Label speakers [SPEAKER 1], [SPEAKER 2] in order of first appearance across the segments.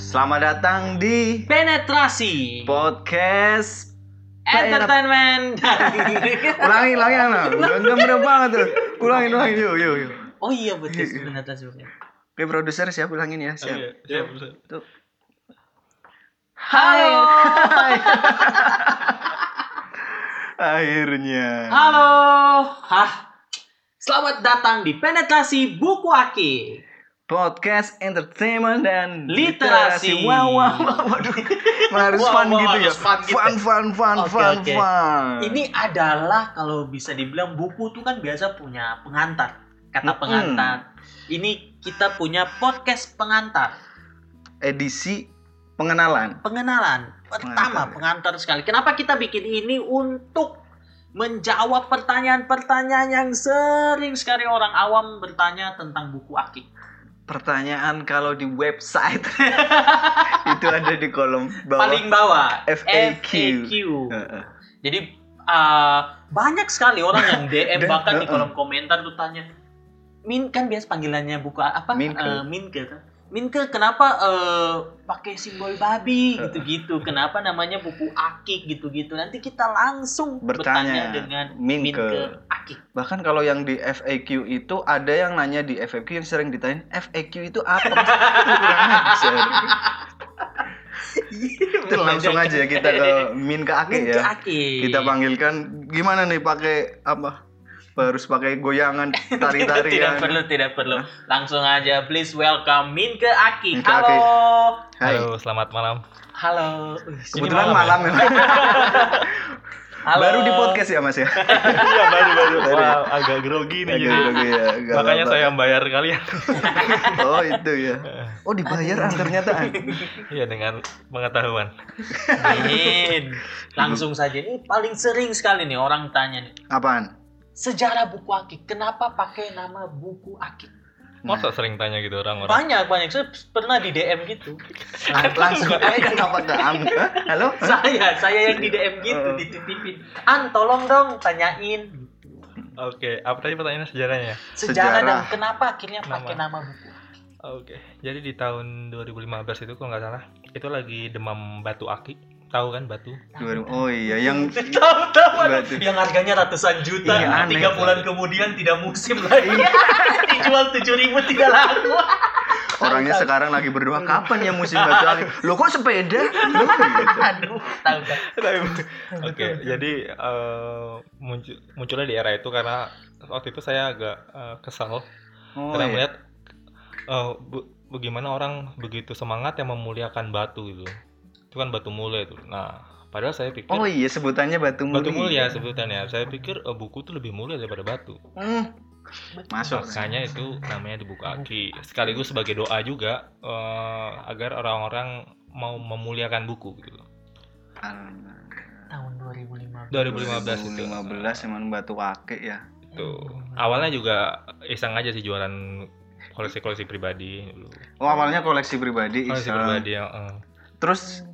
[SPEAKER 1] Selamat datang di
[SPEAKER 2] Penetrasi
[SPEAKER 1] podcast.
[SPEAKER 2] Entertainment
[SPEAKER 1] Ulangi, ulangi anak. Udah udah bener banget tuh. Ulangi, ulangi, yuk, yuk, yuk.
[SPEAKER 2] Oh iya betul penetrasi bukan
[SPEAKER 1] Oke, produser siap ulangin ya, siap. Tuh.
[SPEAKER 2] Halo
[SPEAKER 1] Hai. Akhirnya.
[SPEAKER 2] Halo Hah Selamat datang di Penetrasi Buku Aki
[SPEAKER 1] Podcast entertainment dan
[SPEAKER 2] Literasi.
[SPEAKER 1] Wah, wah, wah, waduh. Harus
[SPEAKER 2] Wah,
[SPEAKER 1] fun
[SPEAKER 2] wah,
[SPEAKER 1] gitu ya.
[SPEAKER 2] harus fun gitu.
[SPEAKER 1] Fun, fun, fun,
[SPEAKER 2] Oke,
[SPEAKER 1] fun,
[SPEAKER 2] oke.
[SPEAKER 1] fun.
[SPEAKER 2] Ini adalah kalau bisa dibilang buku tuh kan biasa punya pengantar Kata
[SPEAKER 1] Mm-mm.
[SPEAKER 2] pengantar Ini kita punya podcast pengantar
[SPEAKER 1] edisi pengenalan.
[SPEAKER 2] pengenalan pertama
[SPEAKER 1] Pengantar, ya.
[SPEAKER 2] pengantar sekali. Kenapa kita bikin ini untuk menjawab pertanyaan-pertanyaan yang sering sekali orang awam bertanya tentang buku akik.
[SPEAKER 1] Pertanyaan kalau di website itu ada di kolom bawah.
[SPEAKER 2] Paling bawah
[SPEAKER 1] FAQ. Heeh.
[SPEAKER 2] Jadi uh, banyak sekali orang yang DM
[SPEAKER 1] Dan-
[SPEAKER 2] bahkan di
[SPEAKER 1] heeh.
[SPEAKER 2] kolom komentar tuh tanya, Min kan biasa panggilannya buku a- apa?
[SPEAKER 1] Minke.
[SPEAKER 2] Eh, Minke. tuh. Minke kenapa eh, pakai simbol babi gitu-gitu? Kenapa namanya buku akik gitu-gitu? Nanti kita langsung
[SPEAKER 1] Bertanya,
[SPEAKER 2] bertanya dengan
[SPEAKER 1] Minke.
[SPEAKER 2] Minke akik.
[SPEAKER 1] Bahkan kalau yang di FAQ itu ada yang nanya di FAQ yang sering ditanya FAQ itu apa? Kurang ajar. Itu Iya, langsung aja kita ke Min ke Ake
[SPEAKER 2] Minke
[SPEAKER 1] ya.
[SPEAKER 2] akik.
[SPEAKER 1] Kita panggilkan gimana nih pakai apa? Harus pakai goyangan kan?"
[SPEAKER 2] tidak, tidak
[SPEAKER 1] tari-tarian.
[SPEAKER 2] perlu, tidak perlu. Langsung aja, please welcome Minke Aki.
[SPEAKER 1] Minke
[SPEAKER 2] Halo.
[SPEAKER 1] Aki. Hai.
[SPEAKER 3] Halo, selamat malam.
[SPEAKER 2] Halo.
[SPEAKER 1] Kebetulan
[SPEAKER 3] Ini
[SPEAKER 1] malam
[SPEAKER 3] malam
[SPEAKER 1] ya.
[SPEAKER 2] Halo.
[SPEAKER 1] Baru di podcast ya Mas ya.
[SPEAKER 3] Iya, baru-baru.
[SPEAKER 1] Baru ya?
[SPEAKER 3] Wah, agak grogi nih.
[SPEAKER 1] Agak
[SPEAKER 3] jadi.
[SPEAKER 1] grogi ya, nggak
[SPEAKER 3] Makanya
[SPEAKER 1] apa-apa.
[SPEAKER 3] saya bayar kalian.
[SPEAKER 1] Oh itu ya. Oh dibayar angkernya tak?
[SPEAKER 3] Iya, dengan pengetahuan.
[SPEAKER 2] Amin. Langsung saja ini paling sering sekali nih orang tanya nih.
[SPEAKER 1] Apaan?
[SPEAKER 2] Sejarah buku akik, kenapa pakai nama buku akik?
[SPEAKER 1] Nah,
[SPEAKER 3] Masa sering tanya gitu orang-orang?
[SPEAKER 2] Banyak banyak saya pernah di DM gitu.
[SPEAKER 3] Kan
[SPEAKER 1] Langsung aja kenapa ke Am- Hah? Halo?
[SPEAKER 2] saya saya yang di DM gitu
[SPEAKER 1] Oh.
[SPEAKER 2] dititipin. An tolong dong tanyain
[SPEAKER 3] Oke, apa tadi pertanyaannya sejarahnya?
[SPEAKER 2] sejarah,
[SPEAKER 1] Sejarah.
[SPEAKER 2] dan kenapa akhirnya pakai nama buku.
[SPEAKER 3] Oke, jadi di tahun 2015 itu kalau nggak salah, itu lagi demam batu aki. Tahu kan batu?
[SPEAKER 1] Dua- Oh iya yang
[SPEAKER 2] Tahu tahu Nah, aduh.
[SPEAKER 1] Berarti-
[SPEAKER 2] yang harganya ratusan juta,
[SPEAKER 1] Iya, aneh.
[SPEAKER 2] tiga
[SPEAKER 1] Iya.
[SPEAKER 2] bulan kemudian tidak musim lagi, dijual tujuh ribu tidak laku.
[SPEAKER 1] Orangnya sekarang lagi berdoa kapan ya musim batu angin? Lo kok sepeda? Lo gitu.
[SPEAKER 2] Aduh, tahu tahu.
[SPEAKER 3] Oke, jadi eh, muncul munculnya di era itu karena waktu itu saya agak eh, kesal
[SPEAKER 1] Oh,
[SPEAKER 3] karena
[SPEAKER 1] iya.
[SPEAKER 3] melihat eh, bu- bagaimana orang begitu semangat yang memuliakan batu gitu. Itu kan batu mulia itu. Nah, padahal saya pikir
[SPEAKER 1] oh iya sebutannya batu mulia.
[SPEAKER 3] batu mulia sebutannya. Saya pikir eh, buku itu lebih mulia daripada batu.
[SPEAKER 1] Hmm. Masuk.
[SPEAKER 3] Makanya itu namanya dibuka aki. Sekaligus sebagai doa juga eh, agar orang-orang mau memuliakan buku gitu.
[SPEAKER 2] Tahun 2015.
[SPEAKER 3] 2015 itu.
[SPEAKER 1] 2015 emang batu akik ya.
[SPEAKER 3] Tuh. Awalnya juga iseng aja sih jualan koleksi-koleksi pribadi dulu.
[SPEAKER 1] Oh awalnya koleksi pribadi.
[SPEAKER 3] Koleksi
[SPEAKER 1] iseng.
[SPEAKER 3] pribadi yang eh,
[SPEAKER 1] Terus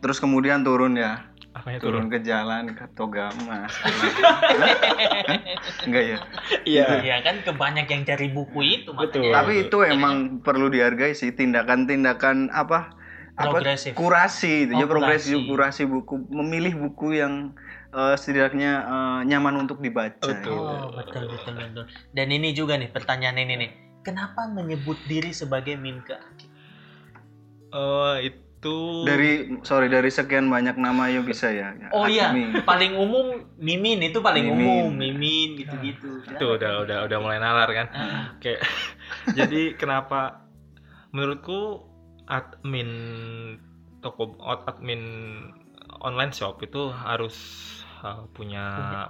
[SPEAKER 1] terus kemudian turun ya,
[SPEAKER 3] apanya
[SPEAKER 1] turun
[SPEAKER 3] turun?
[SPEAKER 1] ke jalan ke Togama. Enggak ya.
[SPEAKER 2] Iya kan kebanyak yang cari buku itu
[SPEAKER 3] Betul.
[SPEAKER 2] makanya.
[SPEAKER 1] Tapi itu emang perlu dihargai sih tindakan-tindakan apa apa
[SPEAKER 2] Progresif.
[SPEAKER 1] kurasi itu ya
[SPEAKER 2] Oh,
[SPEAKER 1] progresi
[SPEAKER 2] kurasi.
[SPEAKER 1] kurasi buku memilih buku yang eh, setidaknya eh, nyaman untuk dibaca.
[SPEAKER 3] Betul.
[SPEAKER 2] Oh, betul, betul, betul. Dan ini juga nih pertanyaan ini nih. Kenapa menyebut diri sebagai Minke Aki?
[SPEAKER 3] Eh, itu
[SPEAKER 1] Dari sorry dari sekian banyak nama yang bisa ya.
[SPEAKER 2] Oh iya,
[SPEAKER 1] Akmi.
[SPEAKER 2] paling umum Mimin itu paling
[SPEAKER 1] Mimin.
[SPEAKER 2] umum, Mimin gitu-gitu.
[SPEAKER 3] itu udah udah udah mulai nalar kan.
[SPEAKER 2] Ah,
[SPEAKER 3] Oke. Jadi kenapa menurutku admin toko ad- admin online shop itu harus uh, punya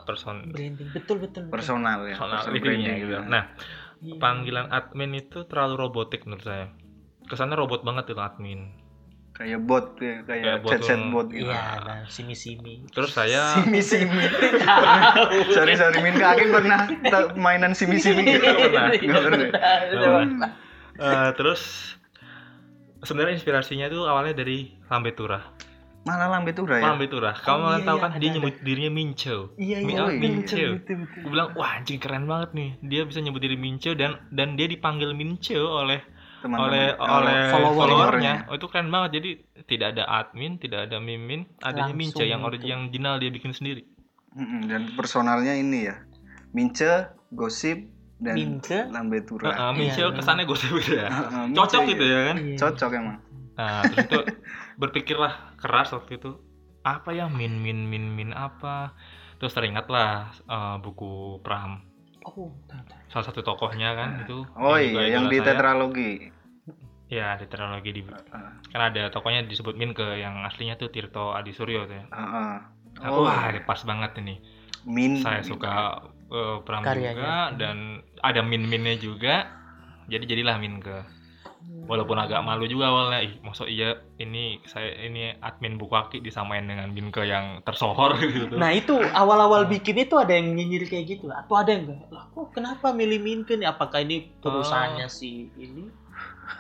[SPEAKER 3] person
[SPEAKER 2] branding. Betul, betul. betul.
[SPEAKER 1] Personal ya.
[SPEAKER 3] personal
[SPEAKER 1] personal
[SPEAKER 3] branding
[SPEAKER 1] branding
[SPEAKER 3] gitu.
[SPEAKER 1] ya.
[SPEAKER 3] Nah,
[SPEAKER 2] Iya.
[SPEAKER 3] panggilan admin itu terlalu robotik menurut saya. Kesannya robot banget itu admin.
[SPEAKER 1] Kayak bot ya,
[SPEAKER 3] Kayak
[SPEAKER 1] kayak
[SPEAKER 3] bot oh. Ya.
[SPEAKER 1] chat chat
[SPEAKER 3] yang-
[SPEAKER 1] bot gitu.
[SPEAKER 2] Iya, nah, simi-simi.
[SPEAKER 3] Terus saya
[SPEAKER 1] Simi simi.
[SPEAKER 2] Tahu.
[SPEAKER 1] sorry sorry Min kakek pernah ta- mainan simi
[SPEAKER 2] Iya,
[SPEAKER 1] simi gitu.
[SPEAKER 3] Iya, Pernah.
[SPEAKER 1] Nggak pernah.
[SPEAKER 2] Tahu.
[SPEAKER 3] eh, terus sebenarnya inspirasinya itu awalnya dari Lambe Turah.
[SPEAKER 1] Malah lambe tuh ya.
[SPEAKER 3] Lambe Turah. Kamu
[SPEAKER 2] Oh, iya,
[SPEAKER 3] tahu
[SPEAKER 2] iya,
[SPEAKER 3] kan dia
[SPEAKER 2] ada,
[SPEAKER 3] nyebut dirinya Mincho.
[SPEAKER 2] Iya, iya.
[SPEAKER 1] Oh, iya.
[SPEAKER 3] Mincho.
[SPEAKER 2] Betul, betul.
[SPEAKER 3] gue bilang wah anjing keren banget nih dia bisa nyebut diri Mincho dan dan dia dipanggil Mincho oleh
[SPEAKER 1] teman-teman.
[SPEAKER 3] oleh
[SPEAKER 1] Oh,
[SPEAKER 3] oleh
[SPEAKER 2] follower-
[SPEAKER 3] followernya. Oh, itu keren banget. Jadi tidak ada admin, tidak ada mimin, adanya
[SPEAKER 2] Langsung
[SPEAKER 3] Minca yang
[SPEAKER 2] gitu.
[SPEAKER 3] ori- yang original dia bikin sendiri.
[SPEAKER 1] Mm-mm, dan personalnya ini ya. Mince, gosip dan
[SPEAKER 2] Mince.
[SPEAKER 1] lambe tura.
[SPEAKER 3] Heeh, Minca
[SPEAKER 2] Iya.
[SPEAKER 3] Nah, kesannya gosip gitu ya.
[SPEAKER 1] Heeh, Mince,
[SPEAKER 3] Cocok
[SPEAKER 1] iya.
[SPEAKER 3] gitu ya kan?
[SPEAKER 2] Iya.
[SPEAKER 1] Cocok emang.
[SPEAKER 3] Nah, terus itu berpikirlah keras waktu itu apa ya min min min min apa. Terus teringatlah eh, buku Pram
[SPEAKER 2] Oh, bentar, bentar.
[SPEAKER 3] salah satu tokohnya kan itu.
[SPEAKER 1] Oh
[SPEAKER 3] yang juga
[SPEAKER 1] iya, yang
[SPEAKER 3] idola
[SPEAKER 1] di
[SPEAKER 3] saya.
[SPEAKER 1] tetralogi.
[SPEAKER 3] Ya, tetralogi di
[SPEAKER 1] Heeh.
[SPEAKER 3] kan ada tokohnya disebut min ke yang aslinya tuh Tirto Adi Suryo tuh ya.
[SPEAKER 1] Heeh. Oh,
[SPEAKER 3] Aku
[SPEAKER 2] iya.
[SPEAKER 3] wah pas banget ini.
[SPEAKER 1] Min.
[SPEAKER 3] saya suka eh, Pram
[SPEAKER 2] Karyanya.
[SPEAKER 3] juga dan ada min-minnya juga jadi jadilah min ke walaupun agak malu juga awalnya ih masa iya ini saya ini admin buku aki disamain dengan min ke yang tersohor gitu
[SPEAKER 2] Nah itu awal-awal bikin itu ada yang nyinyir kayak gitu atau ada yang enggak? Lah kok kenapa milih Minken? Apakah ini perusahaannya si ini?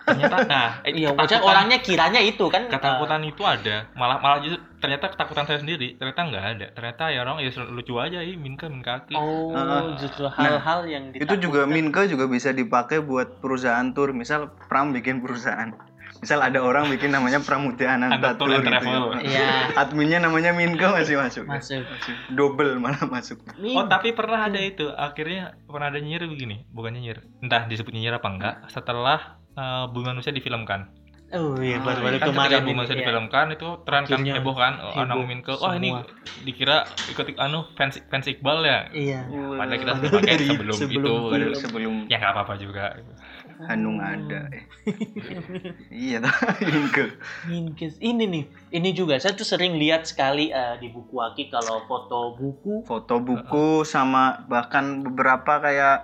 [SPEAKER 3] ternyata nah eh,
[SPEAKER 2] Iya, maksudnya
[SPEAKER 3] ketakutan,
[SPEAKER 2] orangnya kiranya itu kan.
[SPEAKER 3] ketakutan itu ada malah malah justru ternyata ketakutan saya sendiri ternyata nggak ada ternyata ya orang ya lucu aja ih min ke min ke
[SPEAKER 2] eh,
[SPEAKER 3] aki
[SPEAKER 2] oh,
[SPEAKER 1] Heeh.
[SPEAKER 2] justru hal-hal yang
[SPEAKER 1] Itu
[SPEAKER 2] ditakutkan.
[SPEAKER 1] juga Minke juga bisa dipakai buat perusahaan tur. Misal Pram bikin perusahaan. Misal ada orang bikin namanya Pramudia Ananta
[SPEAKER 3] Ananta Tour
[SPEAKER 1] Tour
[SPEAKER 3] and
[SPEAKER 1] gitu. ya.
[SPEAKER 3] Travel.
[SPEAKER 2] Iya,
[SPEAKER 1] Adminnya namanya Minke masih masuk. ya.
[SPEAKER 2] masuk.
[SPEAKER 1] Double malah masuk.
[SPEAKER 2] Min-
[SPEAKER 3] Oh tapi pernah ada
[SPEAKER 2] Iya.
[SPEAKER 3] itu akhirnya pernah ada nyinyir begini bukan nyinyir entah disebut nyinyir apa enggak setelah eh, Bumi Manusia difilmkan
[SPEAKER 2] Oh iya,
[SPEAKER 1] Ah,
[SPEAKER 2] baru-baru
[SPEAKER 1] iya.
[SPEAKER 3] kan
[SPEAKER 2] kemarin.
[SPEAKER 3] ketika Bu
[SPEAKER 2] ini,
[SPEAKER 3] Manusia
[SPEAKER 2] iya.
[SPEAKER 3] difilmkan itu tren kan
[SPEAKER 2] Akhirnya
[SPEAKER 3] heboh kan
[SPEAKER 2] heboh
[SPEAKER 3] anak Minke wah
[SPEAKER 2] semua.
[SPEAKER 3] ini dikira ikut anu fans fans Iqbal ya
[SPEAKER 2] Iya.
[SPEAKER 3] padahal kita
[SPEAKER 2] Padahal
[SPEAKER 3] sudah pakai
[SPEAKER 2] dari
[SPEAKER 3] sebelum,
[SPEAKER 2] sebelum
[SPEAKER 3] itu
[SPEAKER 2] film.
[SPEAKER 1] Padahal sebelum
[SPEAKER 3] ya nggak apa-apa juga
[SPEAKER 1] Hanung
[SPEAKER 2] Oh.
[SPEAKER 1] ada. eh. iya toh, Minke.
[SPEAKER 2] Minkes ini nih, ini juga saya tuh sering lihat sekali eh, di buku Aki kalau foto buku,
[SPEAKER 1] Foto buku sama bahkan beberapa kayak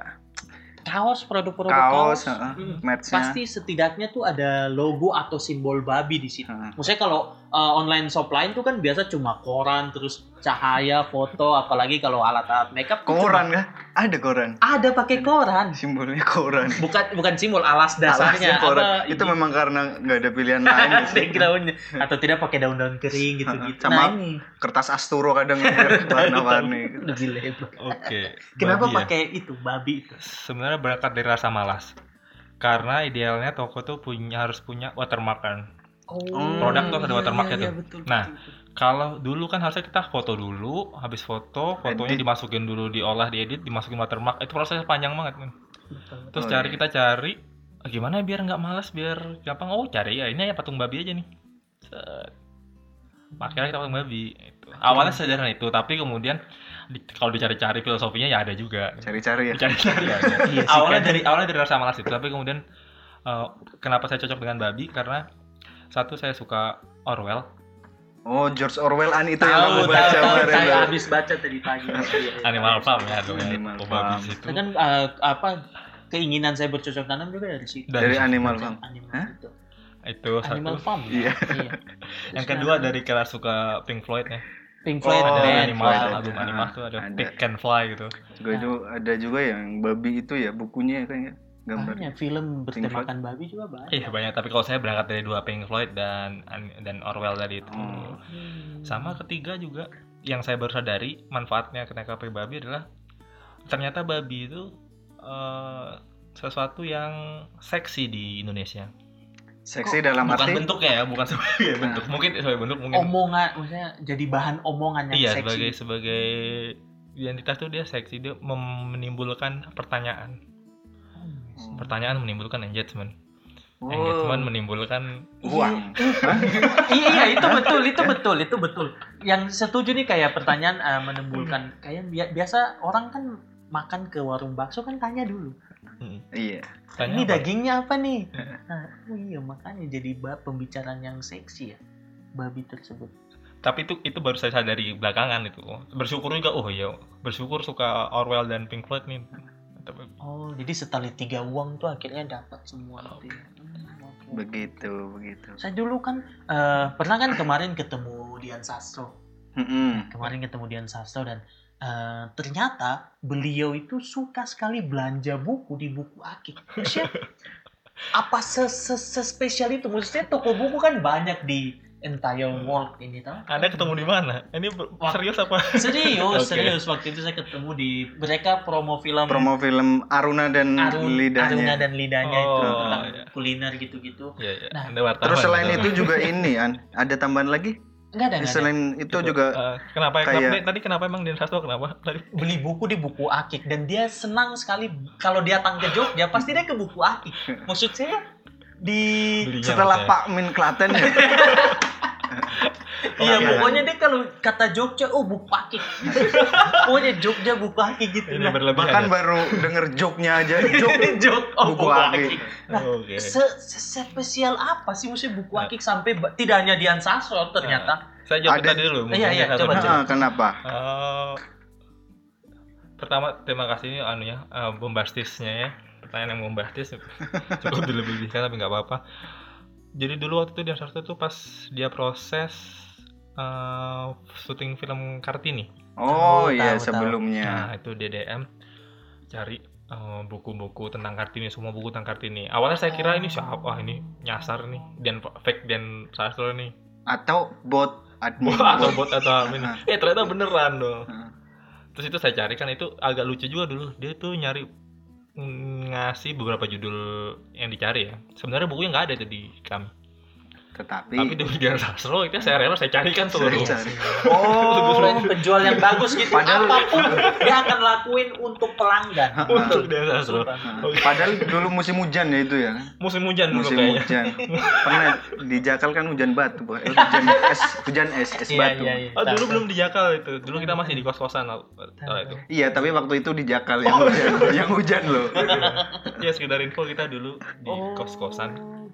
[SPEAKER 2] kaos produk-produk kaos.
[SPEAKER 1] kaos, heeh,
[SPEAKER 2] Mm.
[SPEAKER 1] merch-nya.
[SPEAKER 2] Pasti setidaknya tuh ada logo atau simbol babi di situ.
[SPEAKER 1] Heeh.
[SPEAKER 2] Maksudnya kalau eh, online shop lain tuh kan biasa cuma koran, terus cahaya, foto, apalagi kalau alat-alat makeup tuh cuma-
[SPEAKER 1] Koran kah? Ada koran.
[SPEAKER 2] ada pakai koran.
[SPEAKER 1] Simbolnya koran.
[SPEAKER 2] Bukan bukan simbol alas
[SPEAKER 1] Alasnya
[SPEAKER 2] dasarnya
[SPEAKER 1] koran.
[SPEAKER 2] apa,
[SPEAKER 1] Itu
[SPEAKER 2] ini-
[SPEAKER 1] memang karena nggak ada pilihan lain ya sih.
[SPEAKER 2] backgroundnya atau tidak pakai daun-daun kering gitu-gitu.
[SPEAKER 1] Sama
[SPEAKER 2] Nah, ini
[SPEAKER 1] Kertas asturo kadang warna-warni.
[SPEAKER 2] lebih
[SPEAKER 3] ya,
[SPEAKER 2] lebar.
[SPEAKER 3] oke
[SPEAKER 2] Kenapa
[SPEAKER 3] babi ya.
[SPEAKER 2] pakai itu babi itu?
[SPEAKER 3] sebenarnya berangkat dari rasa malas karena idealnya toko tuh punya harus punya watermark kan
[SPEAKER 1] Hmm,
[SPEAKER 3] produk tuh ada watermarknya tuh.
[SPEAKER 2] iya, betul,
[SPEAKER 3] Nah,
[SPEAKER 2] betul, betul.
[SPEAKER 3] kalau dulu kan harusnya kita foto dulu habis foto fotonya
[SPEAKER 1] Edit.
[SPEAKER 3] dimasukin dulu diolah diedit dimasukin watermark itu prosesnya panjang banget men.
[SPEAKER 2] Betul, betul.
[SPEAKER 3] terus
[SPEAKER 1] Oh,
[SPEAKER 3] cari
[SPEAKER 1] iya.
[SPEAKER 3] kita cari "Ah, gimana biar nggak malas biar gampang oh cari ya ini ya patung babi aja nih Set. akhirnya kita patung babi itu awalnya sederhana itu tapi kemudian di- kalau dicari-cari filosofinya ya ada juga
[SPEAKER 1] Cari-cari ya.
[SPEAKER 3] dicari-cari ada.
[SPEAKER 2] Iya sih,
[SPEAKER 3] awalnya
[SPEAKER 2] kan.
[SPEAKER 3] dari awalnya dari rasa malas itu tapi kemudian eh, kenapa saya cocok dengan babi karena satu saya suka Orwell
[SPEAKER 1] Oh, George Orwell an itu
[SPEAKER 2] tahu tahu
[SPEAKER 1] yang kamu baca
[SPEAKER 2] tahu,
[SPEAKER 1] kemarin.
[SPEAKER 2] saya
[SPEAKER 1] Bang.
[SPEAKER 2] habis baca tadi pagi. Iya, iya.
[SPEAKER 3] Animal Farm ya dulu ya.
[SPEAKER 1] Animal
[SPEAKER 3] Oh, babi
[SPEAKER 1] Farm.
[SPEAKER 3] situ.
[SPEAKER 2] Itu kan eh, apa keinginan saya bercocok tanam juga dari situ.
[SPEAKER 3] Dan
[SPEAKER 1] Dari Animal Farm.
[SPEAKER 2] Animal
[SPEAKER 1] Hah?
[SPEAKER 2] itu.
[SPEAKER 3] itu Oh, satu.
[SPEAKER 2] Animal Farm.
[SPEAKER 1] Iya.
[SPEAKER 2] Iya.
[SPEAKER 3] Yang kedua dari karena suka Pink Floyd ya.
[SPEAKER 2] Pink Floyd
[SPEAKER 1] Oh,
[SPEAKER 3] ada
[SPEAKER 2] Band,
[SPEAKER 3] animal
[SPEAKER 2] Floyd. Ah,
[SPEAKER 1] ada.
[SPEAKER 3] album animal tuh ada,
[SPEAKER 1] Ada.
[SPEAKER 3] Pick and Fly gitu.
[SPEAKER 1] Juga itu
[SPEAKER 2] Nah.
[SPEAKER 1] ada juga yang babi itu ya bukunya kayaknya gambar.
[SPEAKER 2] Banyak Iya, film
[SPEAKER 1] Pink Floyd.
[SPEAKER 2] bertemakan babi juga banyak.
[SPEAKER 3] Iya banyak tapi kalau saya berangkat dari dua Pink Floyd dan dan Orwell tadi itu.
[SPEAKER 1] Oh.
[SPEAKER 2] Hmm.
[SPEAKER 3] Sama ketiga juga yang saya baru sadari manfaatnya ketika pakai babi adalah ternyata babi itu eh, sesuatu yang seksi di Indonesia.
[SPEAKER 1] Seksi dalam
[SPEAKER 3] Bukan
[SPEAKER 1] arti Nah.
[SPEAKER 3] bentuknya ya, bukan sebagai bentuk. Mungkin sebagai bentuk
[SPEAKER 2] Oh,
[SPEAKER 3] mungkin
[SPEAKER 2] omongan maksudnya jadi bahan omongan yang
[SPEAKER 3] Iya
[SPEAKER 2] seksi.
[SPEAKER 3] sebagai sebagai identitas tuh dia seksi dia mem- menimbulkan pertanyaan
[SPEAKER 2] Hmm.
[SPEAKER 3] pertanyaan menimbulkan engagement Eh, engagement
[SPEAKER 1] oh,
[SPEAKER 3] menimbulkan
[SPEAKER 1] uang.
[SPEAKER 2] iya iya itu betul itu betul itu betul yang setuju nih kayak pertanyaan eh, menimbulkan kayak bi- biasa orang kan makan ke warung bakso kan tanya dulu
[SPEAKER 3] Hmm,
[SPEAKER 1] Iya.
[SPEAKER 3] tanya
[SPEAKER 2] ini
[SPEAKER 3] apa? ya?
[SPEAKER 2] dagingnya apa nih nah oh iya makanya jadi ba- pembicaraan yang seksi ya babi tersebut
[SPEAKER 3] tapi itu itu baru saya sadari belakangan itu bersyukur juga oh iya bersyukur suka Orwell dan Pink Floyd nih Tapi-
[SPEAKER 2] oh jadi setali tiga uang tuh akhirnya dapat semua nanti. Hmm, oke.
[SPEAKER 1] Begitu, begitu.
[SPEAKER 2] saya dulu kan eh, pernah kan kemarin ketemu Dian Sastro
[SPEAKER 1] Mm-mm.
[SPEAKER 2] kemarin ketemu Dian Sastro dan eh, ternyata beliau itu suka sekali belanja buku di buku Aki. Maksudnya apa se- se- sespesial itu? Maksudnya toko buku kan banyak di entire world ini tau
[SPEAKER 3] Anda ketemu di mana? Ini ber-
[SPEAKER 2] Wah.
[SPEAKER 3] serius apa?
[SPEAKER 2] serius
[SPEAKER 3] Oke.
[SPEAKER 2] serius waktu itu saya ketemu di mereka promo film
[SPEAKER 3] Iya.
[SPEAKER 1] promo film Aruna dan
[SPEAKER 2] Arun, Aruna
[SPEAKER 1] lidahnya
[SPEAKER 2] dan lidahnya itu
[SPEAKER 3] Oh,
[SPEAKER 2] tentang
[SPEAKER 3] iya.
[SPEAKER 2] kuliner gitu-gitu
[SPEAKER 3] Iya, iya.
[SPEAKER 2] Nah,
[SPEAKER 3] Anda wartawan.
[SPEAKER 1] terus selain
[SPEAKER 3] wartawan.
[SPEAKER 1] itu juga ini an ada tambahan lagi
[SPEAKER 2] enggak Eh, ada enggak ada
[SPEAKER 1] selain itu juga
[SPEAKER 3] eh, kenapa
[SPEAKER 1] kayak-
[SPEAKER 3] kenapa- tadi kenapa emang Dian Sastro kenapa? Tadi
[SPEAKER 2] beli buku di buku akik dan dia senang sekali kalau dia datang ke Jogja pasti dia ke buku akik maksud saya di
[SPEAKER 3] belinya
[SPEAKER 1] setelah
[SPEAKER 3] maksudnya.
[SPEAKER 1] Pak Min Klaten ya
[SPEAKER 2] Iya,
[SPEAKER 1] Iya.
[SPEAKER 2] pokoknya dia kalau kata Jogja, oh bupaki. pokoknya Jogja bupaki gitu.
[SPEAKER 3] ini
[SPEAKER 2] Nah,
[SPEAKER 3] berlebihan.
[SPEAKER 1] bahkan
[SPEAKER 3] ya?
[SPEAKER 1] baru denger joknya aja jok
[SPEAKER 2] Jog, oh
[SPEAKER 1] Buku
[SPEAKER 2] bupaki.
[SPEAKER 1] akik.
[SPEAKER 2] Nah,
[SPEAKER 3] Oke.
[SPEAKER 2] Se spesial apa sih musim buku akik
[SPEAKER 1] Nah.
[SPEAKER 2] sampai ba- tidak hanya Dian Sastro ternyata.
[SPEAKER 3] Saya jawab
[SPEAKER 1] Ada-
[SPEAKER 3] tadi dulu. mungkin
[SPEAKER 2] Iya, iya,
[SPEAKER 3] Dian Sastro
[SPEAKER 2] coba,
[SPEAKER 3] dulu.
[SPEAKER 2] coba.
[SPEAKER 1] Nah, kenapa
[SPEAKER 3] Eh, pertama terima kasih ini anunya eh, bombastisnya ya pertanyaan yang bombastis cukup dilebihkan tapi nggak apa-apa jadi dulu waktu itu Dian Sastro tuh pas dia proses eh, syuting film Kartini
[SPEAKER 1] oh
[SPEAKER 2] Tahu,
[SPEAKER 1] iya
[SPEAKER 2] tahu,
[SPEAKER 1] sebelumnya
[SPEAKER 3] nah itu DDM cari eh, buku-buku tentang Kartini semua buku tentang Kartini awalnya saya kira ini siapa wah ini nyasar nih dan fake dan Sastro nih
[SPEAKER 1] atau bot admin
[SPEAKER 3] atau
[SPEAKER 1] bot
[SPEAKER 3] bot atau admin
[SPEAKER 1] Nah.
[SPEAKER 3] eh ternyata beneran dong
[SPEAKER 1] Nah.
[SPEAKER 3] terus itu saya cari kan itu agak lucu juga dulu dia tuh nyari mm, ngasih beberapa judul yang dicari ya sebenarnya bukunya nggak ada itu di kami tapi
[SPEAKER 1] tetapi
[SPEAKER 3] di Widian Sastro itu saya rela saya carikan seluruh
[SPEAKER 1] Iya. Saya cari. oh
[SPEAKER 2] Pokoknya penjual yang bagus gitu.
[SPEAKER 1] Padahal-
[SPEAKER 2] Apapun dia akan lakuin untuk pelanggan.
[SPEAKER 3] untuk Widian Sastro
[SPEAKER 1] Nah,
[SPEAKER 3] Oke.
[SPEAKER 1] Padahal dulu musim hujan ya itu ya,
[SPEAKER 3] musim hujan Kan dulu
[SPEAKER 1] musim
[SPEAKER 3] kayaknya
[SPEAKER 1] hujan. Pernah di Jakal kan hujan batu, Boy. Eh, hujan es, hujan es, es batu. Iya,
[SPEAKER 3] Oh, dulu belum di Jakal itu dulu kita masih di kos kosan itu
[SPEAKER 1] Iya, tapi waktu itu di Jakal yang hujan, yang hujan loh.
[SPEAKER 3] ya sekedar info kita dulu di
[SPEAKER 2] Oh.
[SPEAKER 3] kos kosan
[SPEAKER 2] gitu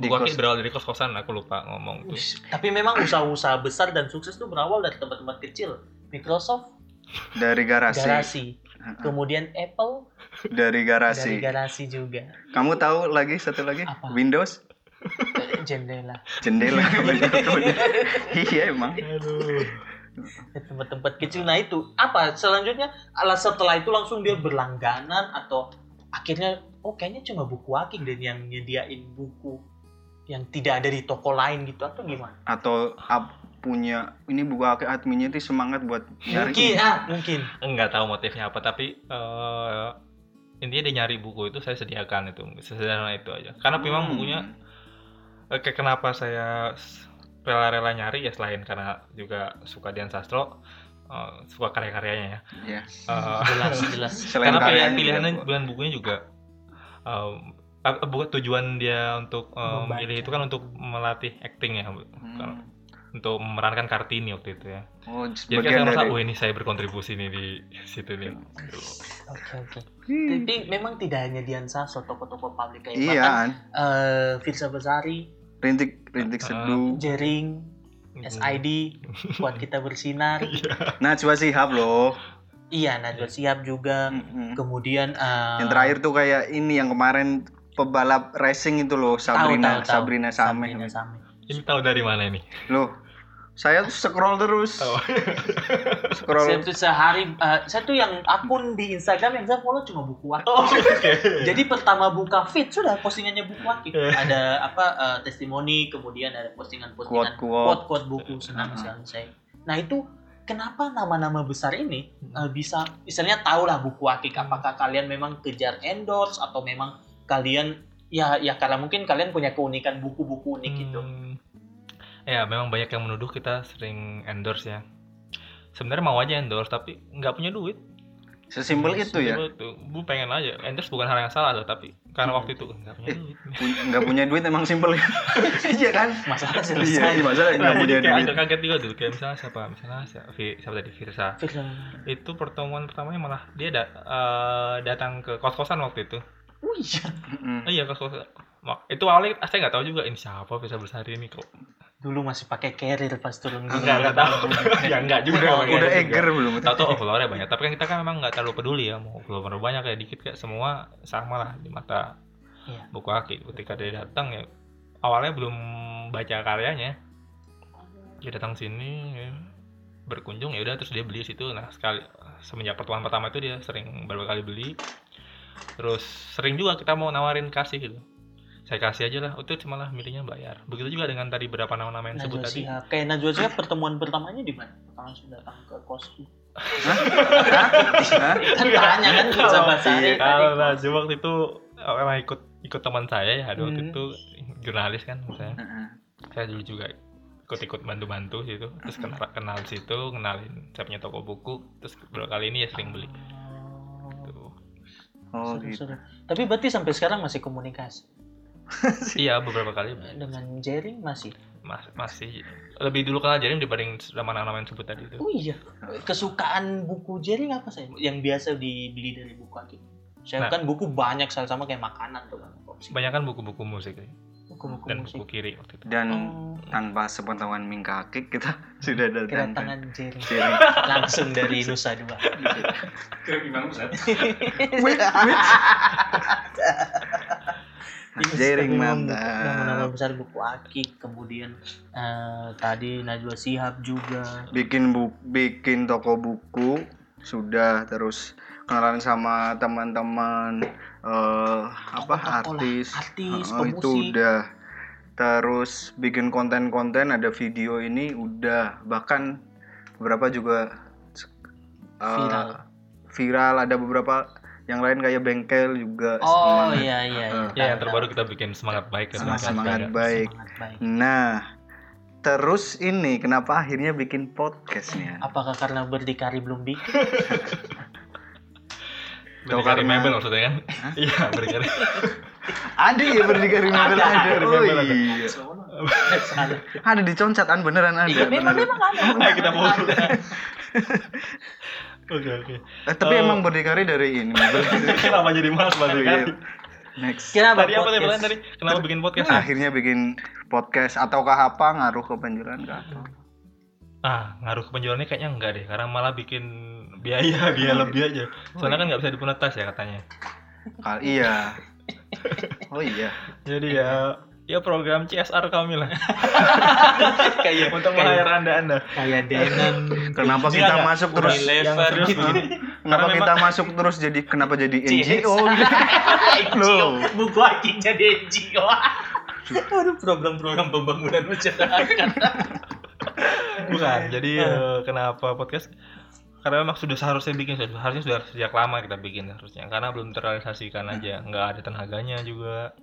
[SPEAKER 1] Di
[SPEAKER 3] buku
[SPEAKER 1] kos-
[SPEAKER 3] kaki berawal dari kos kosan aku lupa ngomong tuh
[SPEAKER 2] Ush, ya. Tapi memang usaha-usaha besar dan sukses itu berawal dari tempat-tempat kecil. Microsoft
[SPEAKER 1] Dari garasi,
[SPEAKER 2] garasi, kemudian Apple
[SPEAKER 1] dari garasi.
[SPEAKER 2] dari garasi juga.
[SPEAKER 1] Kamu tahu lagi satu lagi
[SPEAKER 2] Apa?
[SPEAKER 1] Windows
[SPEAKER 2] Eh, Jendela,
[SPEAKER 1] jendela banyak kebanyakan. Iya emang.
[SPEAKER 3] aduh
[SPEAKER 2] tempat-tempat kecil. Nah itu apa selanjutnya? Alas setelah itu langsung dia berlangganan atau akhirnya oh kayaknya cuma buku Aking dan yang nyediain buku yang tidak ada di toko lain gitu atau gimana?
[SPEAKER 1] Atau ap- punya ini buka ke adminnya itu semangat buat nyari. Iya.
[SPEAKER 2] Mungkin ah mungkin.
[SPEAKER 3] nggak tahu motifnya apa tapi eh, intinya dia nyari buku itu saya sediakan itu sesederhana itu aja karena memang
[SPEAKER 1] Hmm.
[SPEAKER 3] bukunya eh, ke- kenapa saya s- rela-rela nyari ya selain karena juga suka Dian Sastro eh, suka karya-karyanya ya
[SPEAKER 1] Iya.
[SPEAKER 3] Eh,
[SPEAKER 2] Jelas jelas.
[SPEAKER 1] Selain
[SPEAKER 3] karena pilihan
[SPEAKER 1] karyanya
[SPEAKER 3] pilihannya
[SPEAKER 1] juga, Bu.
[SPEAKER 3] bukan bukunya juga em, ap- bukan tujuan dia untuk em,
[SPEAKER 2] Membaca.
[SPEAKER 3] memilih itu kan untuk melatih acting ya Bu.
[SPEAKER 1] Hmm.
[SPEAKER 3] untuk memerankan Kartini waktu itu ya
[SPEAKER 1] Oh,
[SPEAKER 3] jadi kayak saya
[SPEAKER 1] sebagian
[SPEAKER 3] merasa
[SPEAKER 1] dari
[SPEAKER 3] "Wah, ini saya berkontribusi nih di situ nih
[SPEAKER 2] Oke oke.
[SPEAKER 1] Hmm.
[SPEAKER 2] Tapi memang tidak hanya Dian Sastro toko-toko publik kayak
[SPEAKER 1] Iya,
[SPEAKER 2] bahkan
[SPEAKER 1] An.
[SPEAKER 2] eh, Firsa Besari,
[SPEAKER 1] rintik rintik
[SPEAKER 3] Ah.
[SPEAKER 1] seduh.
[SPEAKER 2] Jering,
[SPEAKER 3] Hmm.
[SPEAKER 2] SID, buat kita bersinar.
[SPEAKER 1] Najwa Shihab loh.
[SPEAKER 2] Iya, Najwa Siap juga.
[SPEAKER 1] Mm-mm.
[SPEAKER 2] Kemudian eh,
[SPEAKER 1] Hmm. Yang terakhir tuh kayak ini yang kemarin pebalap racing itu loh
[SPEAKER 2] tahu, tahu,
[SPEAKER 1] Sabrina
[SPEAKER 2] tahu.
[SPEAKER 1] Sabrina Sameh.
[SPEAKER 2] Sabrina Sameh.
[SPEAKER 3] Ini tahu dari mana ini?
[SPEAKER 1] Loh, saya tuh scroll terus.
[SPEAKER 3] Tahu.
[SPEAKER 2] Saya
[SPEAKER 1] scroll.
[SPEAKER 2] tuh sehari, eh, saya tuh yang akun di Instagram yang saya follow cuma buku wakil.
[SPEAKER 1] Oh.
[SPEAKER 2] Jadi pertama buka feed sudah postingannya buku wakil. Ada apa eh, testimoni, kemudian ada postingan-postingan
[SPEAKER 1] Quote-quote.
[SPEAKER 2] quote-quote buku senang
[SPEAKER 1] Ah.
[SPEAKER 2] sekali saya. Nah itu kenapa nama-nama besar ini
[SPEAKER 1] Hmm.
[SPEAKER 2] eh, bisa misalnya tahulah buku akik apakah kalian memang kejar endorse atau memang kalian ya ya karena mungkin kalian punya keunikan buku-buku unik gitu.
[SPEAKER 3] Hmm, Ya, memang banyak yang menuduh kita sering endorse ya. Sebenarnya mau aja endorse tapi nggak punya duit.
[SPEAKER 1] Sesimpel itu ya.
[SPEAKER 3] Sesimpel itu. Bu pengen aja. Endorse bukan hal yang salah loh, tapi karena
[SPEAKER 2] Hmm.
[SPEAKER 3] waktu itu nggak punya
[SPEAKER 1] Eh,
[SPEAKER 3] duit.
[SPEAKER 1] Pu- nggak punya duit emang simpel iya kan
[SPEAKER 2] Masalah
[SPEAKER 1] iya
[SPEAKER 2] selesai.
[SPEAKER 1] masalah nggak
[SPEAKER 3] Nah,
[SPEAKER 1] punya
[SPEAKER 3] jadi kayak
[SPEAKER 1] duit
[SPEAKER 3] agak kaget juga dulu. Kayak misalnya siapa? Misalnya siapa, siapa tadi? Firsa.
[SPEAKER 2] Film.
[SPEAKER 3] Itu pertemuan pertamanya malah dia da- eh, datang ke kos-kosan waktu itu.
[SPEAKER 2] Oh iya.
[SPEAKER 1] Mm-mm.
[SPEAKER 3] Oh, iya, kos-kosan. Mak- Itu awalnya saya nggak tahu juga ini siapa Firsa Bersari ini kok.
[SPEAKER 2] Dulu masih pakai carrier pas turun
[SPEAKER 3] Nggak,
[SPEAKER 2] gunung.
[SPEAKER 3] nggak tahu. ya nggak juga.
[SPEAKER 1] udah
[SPEAKER 3] nggak
[SPEAKER 1] udah
[SPEAKER 3] juga.
[SPEAKER 1] eger belum
[SPEAKER 3] Tahu tuh followernya banyak, tapi kan kita kan memang nggak terlalu peduli ya mau follower banyak kayak dikit kayak semua sama lah di mata
[SPEAKER 2] Iya.
[SPEAKER 3] buku aki. Ketika dia datang ya awalnya belum baca karyanya, dia datang sini ya, berkunjung ya udah terus dia beli di situ. Nah sekali semenjak pertemuan pertama itu dia sering berapa kali beli, terus sering juga kita mau nawarin kasih gitu. saya kasih aja lah itu malah milihnya bayar begitu juga dengan tadi berapa nama-nama yang disebut
[SPEAKER 2] Najwa
[SPEAKER 3] tadi
[SPEAKER 2] Shihab. Kayak Najwa Shihab pertemuan pertamanya di mana? Langsung datang ke kosku.
[SPEAKER 1] Hah? Hah? Hah?
[SPEAKER 2] Kan tanya kan bisa bahasa
[SPEAKER 1] Iya,
[SPEAKER 3] kalau Najwa waktu itu oh, emang ikut ikut teman saya ya ada waktu
[SPEAKER 2] Hmm.
[SPEAKER 3] itu jurnalis kan saya
[SPEAKER 1] Heeh.
[SPEAKER 3] saya dulu juga ikut-ikut bantu-bantu situ terus kenal kenal situ kenalin saya punya toko buku terus beberapa kali ini ya sering beli tuh
[SPEAKER 1] Oh gitu.
[SPEAKER 2] Seru-seru. Tapi berarti sampai sekarang masih komunikasi
[SPEAKER 3] iya beberapa kali beli.
[SPEAKER 2] dengan Jerry masih.
[SPEAKER 3] Mas, masih lebih dulu kenal jaring dibanding nama-nama yang sebut tadi itu
[SPEAKER 2] Oh iya, kesukaan buku Jerry apa saya? Yang biasa dibeli dari buku akhir. Saya
[SPEAKER 3] Nah.
[SPEAKER 2] kan buku banyak sama sama kayak makanan tuh kan. opsi.
[SPEAKER 3] kebanyakan buku-buku musik sih,
[SPEAKER 2] Buku-buku
[SPEAKER 3] dan
[SPEAKER 2] musik.
[SPEAKER 3] buku kiri waktu itu
[SPEAKER 1] Dan
[SPEAKER 2] Oh,
[SPEAKER 1] tanpa sepengetahuan mingkakik kita sudah datang.
[SPEAKER 2] kedatangan Jerry
[SPEAKER 1] Sharing.
[SPEAKER 2] langsung dari Nusa Dua.
[SPEAKER 4] Kira gimana Ustaz?
[SPEAKER 1] Wait, wait. Jaring Ah.
[SPEAKER 2] Nama-nama
[SPEAKER 1] mantap.
[SPEAKER 2] besar buku Akik, kemudian eh, tadi Najwa Sihab juga.
[SPEAKER 1] Bikin bu bikin toko buku sudah terus kenalan sama teman-teman eh, apa
[SPEAKER 2] Tokoh-tokoh lah,
[SPEAKER 1] artis.
[SPEAKER 2] artis,
[SPEAKER 1] Oh,
[SPEAKER 2] pemusik.
[SPEAKER 1] itu udah terus bikin konten-konten ada video ini udah bahkan beberapa juga eh,
[SPEAKER 2] Viral.
[SPEAKER 1] viral ada beberapa yang lain kayak bengkel juga
[SPEAKER 2] Oh
[SPEAKER 1] semangat.
[SPEAKER 2] iya iya. iya.
[SPEAKER 1] Heeh.
[SPEAKER 2] Tahu,
[SPEAKER 3] ya yang
[SPEAKER 2] tahu.
[SPEAKER 3] terbaru kita bikin semangat baik ya,
[SPEAKER 1] Semangat,
[SPEAKER 3] Bang.
[SPEAKER 1] semangat
[SPEAKER 3] Ada.
[SPEAKER 1] baik.
[SPEAKER 2] Semangat baik.
[SPEAKER 1] Nah, terus ini kenapa akhirnya bikin podcastnya?
[SPEAKER 2] Apakah karena berdikari belum bikin?
[SPEAKER 3] berdikari
[SPEAKER 1] Karena-
[SPEAKER 3] mebel maksudnya kan iya berdikari
[SPEAKER 1] Ada ya berdikari mebel
[SPEAKER 2] Ada,
[SPEAKER 1] ada.
[SPEAKER 3] ada,
[SPEAKER 1] Oh
[SPEAKER 3] mebel ada.
[SPEAKER 1] iya.
[SPEAKER 2] Salah.
[SPEAKER 1] Ada di concatan beneran ada.
[SPEAKER 2] Iya, memang
[SPEAKER 1] beneran.
[SPEAKER 2] memang ada.
[SPEAKER 3] Ayo kita fokus oke oke
[SPEAKER 1] Eh, tapi
[SPEAKER 3] Oh.
[SPEAKER 1] emang berdikari dari ini. mebel.
[SPEAKER 3] kenapa jadi malas
[SPEAKER 1] Oh,
[SPEAKER 3] banget
[SPEAKER 1] iya.
[SPEAKER 3] kan
[SPEAKER 1] Next.
[SPEAKER 2] Kenapa?
[SPEAKER 3] tadi apa tadi
[SPEAKER 2] podcast?
[SPEAKER 3] pertanyaan tadi kenapa bikin podcast ya?
[SPEAKER 1] Akhirnya bikin podcast ataukah apa ngaruh ke penjualan kah?
[SPEAKER 3] ah ngaruh ke penjualannya kayaknya enggak deh karena malah bikin biaya biaya lebih aja soalnya kan nggak bisa dipunetas ya katanya
[SPEAKER 1] Kal- iya. Oh iya.
[SPEAKER 3] jadi ya ya program CSR kami lah iya,
[SPEAKER 2] kayak
[SPEAKER 3] untuk
[SPEAKER 2] kayak,
[SPEAKER 3] menglayar anda anda
[SPEAKER 2] kayak Denon.
[SPEAKER 1] Kenapa
[SPEAKER 3] Iya,
[SPEAKER 1] kita
[SPEAKER 3] nggak?
[SPEAKER 1] masuk terus?
[SPEAKER 3] yang
[SPEAKER 2] Lever.
[SPEAKER 3] serius
[SPEAKER 1] Hah? Kenapa
[SPEAKER 3] Karena
[SPEAKER 1] kita masuk terus jadi kenapa jadi
[SPEAKER 2] Cis. NGO.
[SPEAKER 1] NGO? Loh.
[SPEAKER 2] Buku Akik jadi NGO. Aduh, program-program pembangunan masyarakat.
[SPEAKER 3] bukan jadi eh, kenapa podcast karena memang sudah seharusnya bikin sudah- harusnya sudah sejak lama kita bikin harusnya karena belum terrealisasikan aja nggak ada tenaganya juga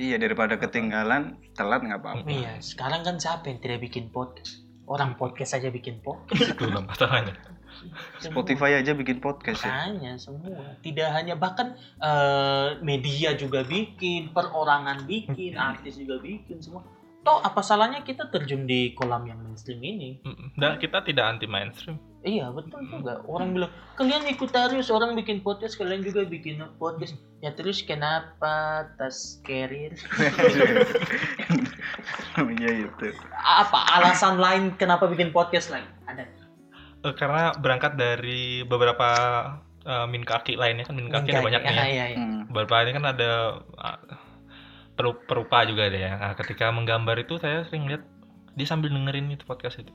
[SPEAKER 1] Iya daripada ketinggalan telat nggak apa-apa.
[SPEAKER 2] Iya, sekarang kan siapa yang tidak bikin podcast? Orang podcast aja bikin podcast.
[SPEAKER 3] itu lah masalahnya
[SPEAKER 2] Semua.
[SPEAKER 1] Spotify aja bikin podcast ya.
[SPEAKER 2] Makanya semua, tidak hanya bahkan eh, media juga bikin, perorangan bikin, artis juga bikin semua. Toh apa salahnya kita terjun di kolam yang mainstream ini?
[SPEAKER 3] Mm-mm. dan kita tidak anti mainstream
[SPEAKER 2] Iya betul juga.
[SPEAKER 1] Hmm.
[SPEAKER 2] Orang bilang kalian ikut arus, orang bikin podcast, kalian juga bikin podcast. Ya terus kenapa tas carrier?
[SPEAKER 1] Iya itu.
[SPEAKER 2] Apa alasan lain kenapa bikin podcast lain? Ada.
[SPEAKER 3] Eh, karena berangkat dari beberapa eh, min kaki lainnya kan min kaki ada banyak nih ya.
[SPEAKER 2] Ah, iya, iya.
[SPEAKER 1] Hmm.
[SPEAKER 3] beberapa ini kan ada ah, peru- perupa juga ada ya nah, ketika menggambar itu saya sering lihat dia sambil dengerin itu podcast itu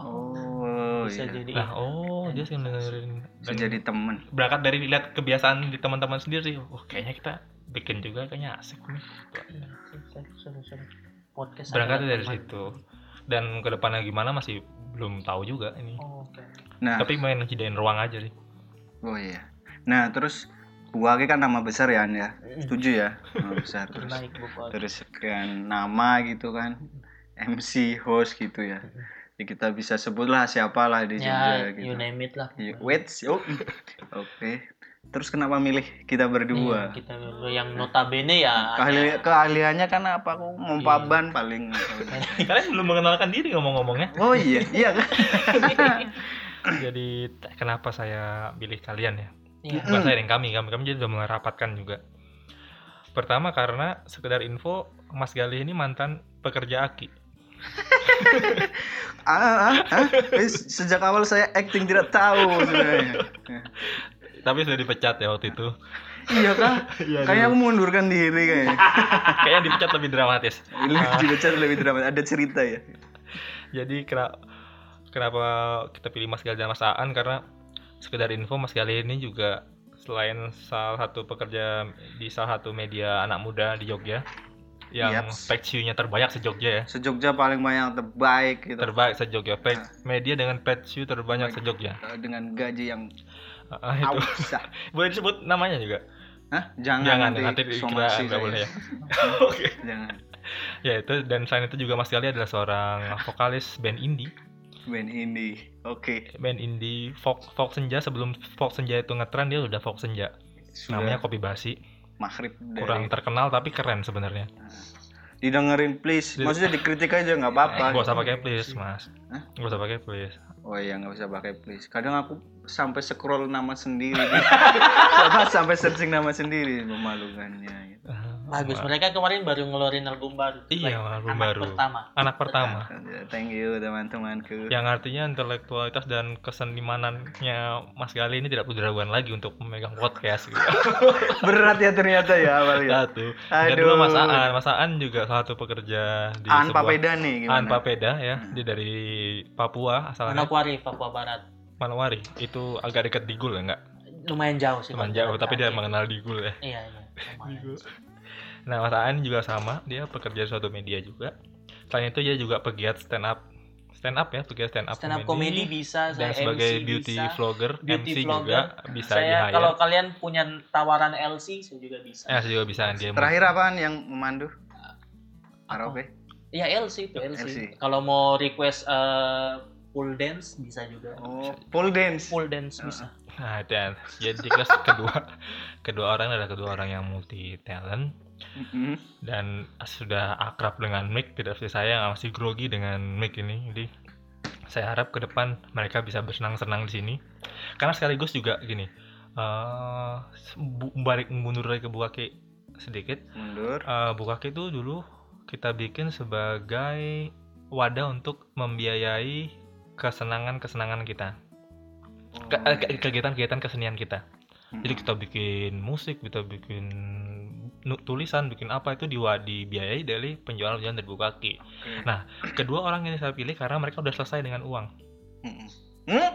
[SPEAKER 1] Oh,
[SPEAKER 2] bisa
[SPEAKER 1] iya.
[SPEAKER 2] jadi.
[SPEAKER 3] lah oh dia sering dengerin
[SPEAKER 1] Bisa
[SPEAKER 3] Dan
[SPEAKER 1] jadi
[SPEAKER 2] Iya.
[SPEAKER 1] temen.
[SPEAKER 3] berangkat dari lihat kebiasaan di teman-teman sendiri sih oh kayaknya kita bikin juga kayaknya asik nih
[SPEAKER 2] Iya, seru, seru, seru. Podcast
[SPEAKER 3] berangkat
[SPEAKER 2] adalah
[SPEAKER 3] dari
[SPEAKER 2] teman.
[SPEAKER 3] situ dan kedepannya gimana masih belum tahu juga ini
[SPEAKER 2] Oh, Oke.
[SPEAKER 1] Nah,
[SPEAKER 3] tapi main ngejadain ruang aja sih
[SPEAKER 1] oh iya. Nah, terus Buake kan nama besar ya,
[SPEAKER 2] Hmm.
[SPEAKER 1] An, ya. Setuju ya? Nama besar terus.
[SPEAKER 2] Naik buku.
[SPEAKER 1] Terus kan nama gitu kan. MC host gitu ya. Jadi kita bisa sebutlah siapalah di
[SPEAKER 2] Ya,
[SPEAKER 1] Jogja
[SPEAKER 2] you
[SPEAKER 1] gitu.
[SPEAKER 2] name it lah.
[SPEAKER 1] Ya, Wait, yuk. Oke. Terus kenapa milih kita berdua?
[SPEAKER 2] Iya, kita dulu yang notabene ya.
[SPEAKER 1] Keahli- keahliannya kan apa? Aku
[SPEAKER 2] Iya.
[SPEAKER 1] ngompaban paling.
[SPEAKER 3] kalian belum mengenalkan diri ngomong-ngomongnya
[SPEAKER 1] Oh iya, iya kan?
[SPEAKER 3] jadi t- kenapa saya pilih kalian ya
[SPEAKER 2] Iya.
[SPEAKER 3] bukan saya yang kami kami kami jadi sudah merapatkan juga pertama karena sekedar info Mas Galih ini mantan pekerja aki
[SPEAKER 1] Ah, ah, ah. Eh, Sejak awal saya acting tidak tahu sebenarnya.
[SPEAKER 3] tapi sudah dipecat ya waktu itu
[SPEAKER 1] Iya kah?
[SPEAKER 3] Iya,
[SPEAKER 1] Kayaknya
[SPEAKER 3] dulu.
[SPEAKER 1] aku mundurkan diri kayaknya.
[SPEAKER 3] kayaknya dipecat lebih dramatis
[SPEAKER 1] Lebih dibaca lebih drama. Ada cerita ya.
[SPEAKER 3] jadi kena- kenapa kita pilih Mas Galih dan Mas Aan karena sekedar info Mas Galih ini juga selain salah satu pekerja di salah satu media anak muda di Jogja yang
[SPEAKER 1] Yaps.
[SPEAKER 3] page view-nya terbanyak se-Jogja ya
[SPEAKER 1] Sejogja paling banyak terbaik gitu
[SPEAKER 3] terbaik se-Jogja page, media dengan page view terbanyak
[SPEAKER 1] Baik.
[SPEAKER 3] se-Jogja
[SPEAKER 1] Eh, dengan gaji yang
[SPEAKER 3] Ah, itu
[SPEAKER 1] awsa.
[SPEAKER 3] boleh disebut namanya juga
[SPEAKER 1] Hah? Jangan,
[SPEAKER 3] jangan
[SPEAKER 1] nanti,
[SPEAKER 3] nanti dikira
[SPEAKER 1] somasi
[SPEAKER 3] nggak
[SPEAKER 1] saya.
[SPEAKER 3] boleh ya oke
[SPEAKER 1] Jangan.
[SPEAKER 3] ya itu dan selain itu juga Mas Gali adalah seorang vokalis band indie
[SPEAKER 1] Band indie. Oke.
[SPEAKER 3] band indie folk folk senja sebelum folk senja itu ngetren dia udah folk senja
[SPEAKER 1] Sudah
[SPEAKER 3] namanya kopi basi
[SPEAKER 1] maghrib dari
[SPEAKER 3] kurang terkenal tapi keren sebenarnya
[SPEAKER 1] didengerin please.
[SPEAKER 3] Di-
[SPEAKER 1] Maksudnya dikritik aja nggak apa-apa.
[SPEAKER 3] Eh, Gak usah pakai please, Mas.
[SPEAKER 1] Hah?
[SPEAKER 3] Gak usah pakai please.
[SPEAKER 1] Oh iya nggak usah pakai please. Kadang aku sampai scroll nama sendiri. Sama sampai searching nama sendiri memalukannya. Gitu.
[SPEAKER 2] Bagus,
[SPEAKER 3] Wah,
[SPEAKER 2] mereka kemarin baru ngeluarin album baru.
[SPEAKER 3] Iya,
[SPEAKER 2] Like,
[SPEAKER 3] album
[SPEAKER 2] anak
[SPEAKER 3] baru.
[SPEAKER 2] pertama.
[SPEAKER 3] Anak pertama
[SPEAKER 1] Thank you teman-temanku.
[SPEAKER 3] yang artinya intelektualitas dan kesenimanannya Mas Gali ini tidak punya raguan lagi untuk memegang podcast gitu.
[SPEAKER 1] Berat ya ternyata ya awalnya.
[SPEAKER 3] Satu. Dan
[SPEAKER 1] Aduh.
[SPEAKER 3] dua Mas
[SPEAKER 1] ah,
[SPEAKER 3] Aan, Mas Aan juga salah satu pekerja di
[SPEAKER 1] An
[SPEAKER 3] sebuah
[SPEAKER 1] Papeda nih gimana? Hmm.
[SPEAKER 3] Aan Papeda ya, dia dari Papua asalnya
[SPEAKER 2] Manokwari, Papua Barat.
[SPEAKER 3] Manowari. Itu agak dekat Digul ya enggak?
[SPEAKER 2] Lumayan jauh sih. Pak.
[SPEAKER 3] Cuman jauh tapi dia
[SPEAKER 2] Iya,
[SPEAKER 3] mengenal Digul ya.
[SPEAKER 2] Iya, iya. lumayan.
[SPEAKER 3] Nah, Mas Aan juga sama, dia pekerja di suatu media juga. Selain itu dia juga pegiat stand up. Stand up ya, pegiat stand up
[SPEAKER 2] Stand up comedy bisa, saya
[SPEAKER 3] dan sebagai
[SPEAKER 2] MC
[SPEAKER 3] beauty
[SPEAKER 2] bisa.
[SPEAKER 3] vlogger,
[SPEAKER 2] Beauty
[SPEAKER 3] MC
[SPEAKER 2] vlogger.
[SPEAKER 3] juga bisa di
[SPEAKER 2] saya
[SPEAKER 3] hire.
[SPEAKER 2] kalau kalian punya tawaran LC saya juga bisa.
[SPEAKER 3] Eh, saya juga bisa dia.
[SPEAKER 1] Terakhir apaan yang memandu? Karaoke.
[SPEAKER 2] Iya LC itu LC.
[SPEAKER 1] LC.
[SPEAKER 2] Kalau mau request eh, pool dance bisa juga.
[SPEAKER 1] Oh, Ah. pole dance.
[SPEAKER 2] Pool dance bisa.
[SPEAKER 3] Nah, dan jadi kelas kedua kedua orang adalah kedua orang yang multi talent
[SPEAKER 1] Mm-mm.
[SPEAKER 3] dan sudah akrab dengan mic tidak seperti saya yang masih grogi dengan mic ini jadi saya harap ke depan mereka bisa bersenang-senang di sini karena sekaligus juga gini eh bu- balik mundur dari ke Bukake sedikit
[SPEAKER 1] Mundur.
[SPEAKER 3] Eh Bukake itu dulu kita bikin sebagai wadah untuk membiayai kesenangan-kesenangan kita Ke- eh, ke- kegiatan-kegiatan kesenian kita jadi kita bikin musik kita bikin nu- tulisan bikin apa itu diwa- dibiayai dari penjualan penjualan dari Bukaki nah kedua orang ini saya pilih karena mereka udah selesai dengan uang
[SPEAKER 1] Mm-mm. Hmm?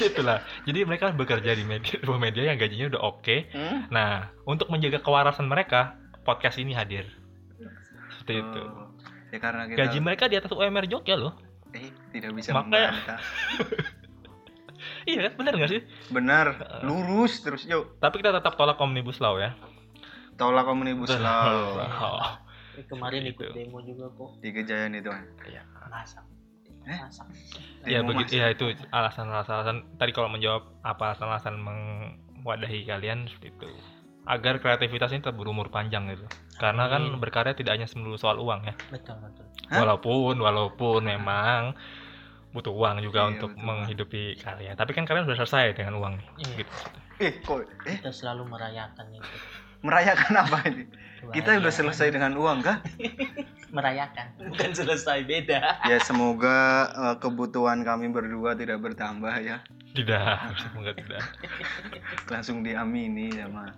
[SPEAKER 3] itulah jadi mereka bekerja di media sebuah media yang gajinya udah oke
[SPEAKER 1] Hmm?
[SPEAKER 3] nah untuk menjaga kewarasan mereka podcast ini hadir seperti itu
[SPEAKER 1] Oh. Ya karena kita
[SPEAKER 3] gaji mereka di atas UMR Jogja loh
[SPEAKER 1] eh, tidak bisa
[SPEAKER 3] Makanya-
[SPEAKER 1] membantah.
[SPEAKER 3] iya kan bener nggak sih
[SPEAKER 1] Benar, lurus terus yuk.
[SPEAKER 3] tapi kita tetap tolak omnibus law ya
[SPEAKER 1] Tolak omnibus law
[SPEAKER 3] Oh.
[SPEAKER 2] Eh, Kemarin
[SPEAKER 3] Seperti
[SPEAKER 2] ikut
[SPEAKER 3] itu.
[SPEAKER 2] demo juga kok.
[SPEAKER 1] di Kejayaan itu.
[SPEAKER 2] Masak.
[SPEAKER 1] Eh?
[SPEAKER 2] Masak.
[SPEAKER 3] Ya
[SPEAKER 1] Demo masih.
[SPEAKER 3] begitu ya itu alasan-alasan tadi kalau menjawab apa alasan-alasan mewadahi kalian seperti itu agar kreativitas ini tetap berumur panjang gitu karena kan
[SPEAKER 2] Amin.
[SPEAKER 3] berkarya tidak hanya melulu soal uang ya
[SPEAKER 2] Iya, Betul betul.
[SPEAKER 1] Hah?
[SPEAKER 3] walaupun walaupun memang butuh uang juga
[SPEAKER 1] Iya,
[SPEAKER 3] untuk
[SPEAKER 1] butuh
[SPEAKER 3] menghidupi karya tapi kan kalian sudah selesai dengan uang nih
[SPEAKER 2] Iya.
[SPEAKER 3] gitu
[SPEAKER 1] Eh, kok eh
[SPEAKER 2] Kita selalu merayakan itu.
[SPEAKER 1] merayakan apa ini? Kita udah
[SPEAKER 2] Merayakan.
[SPEAKER 1] selesai dengan uang kah?
[SPEAKER 2] Merayakan. Bukan selesai beda.
[SPEAKER 1] Ya semoga eh, kebutuhan kami berdua tidak bertambah ya.
[SPEAKER 3] tidak semoga tidak
[SPEAKER 1] Langsung diamini sama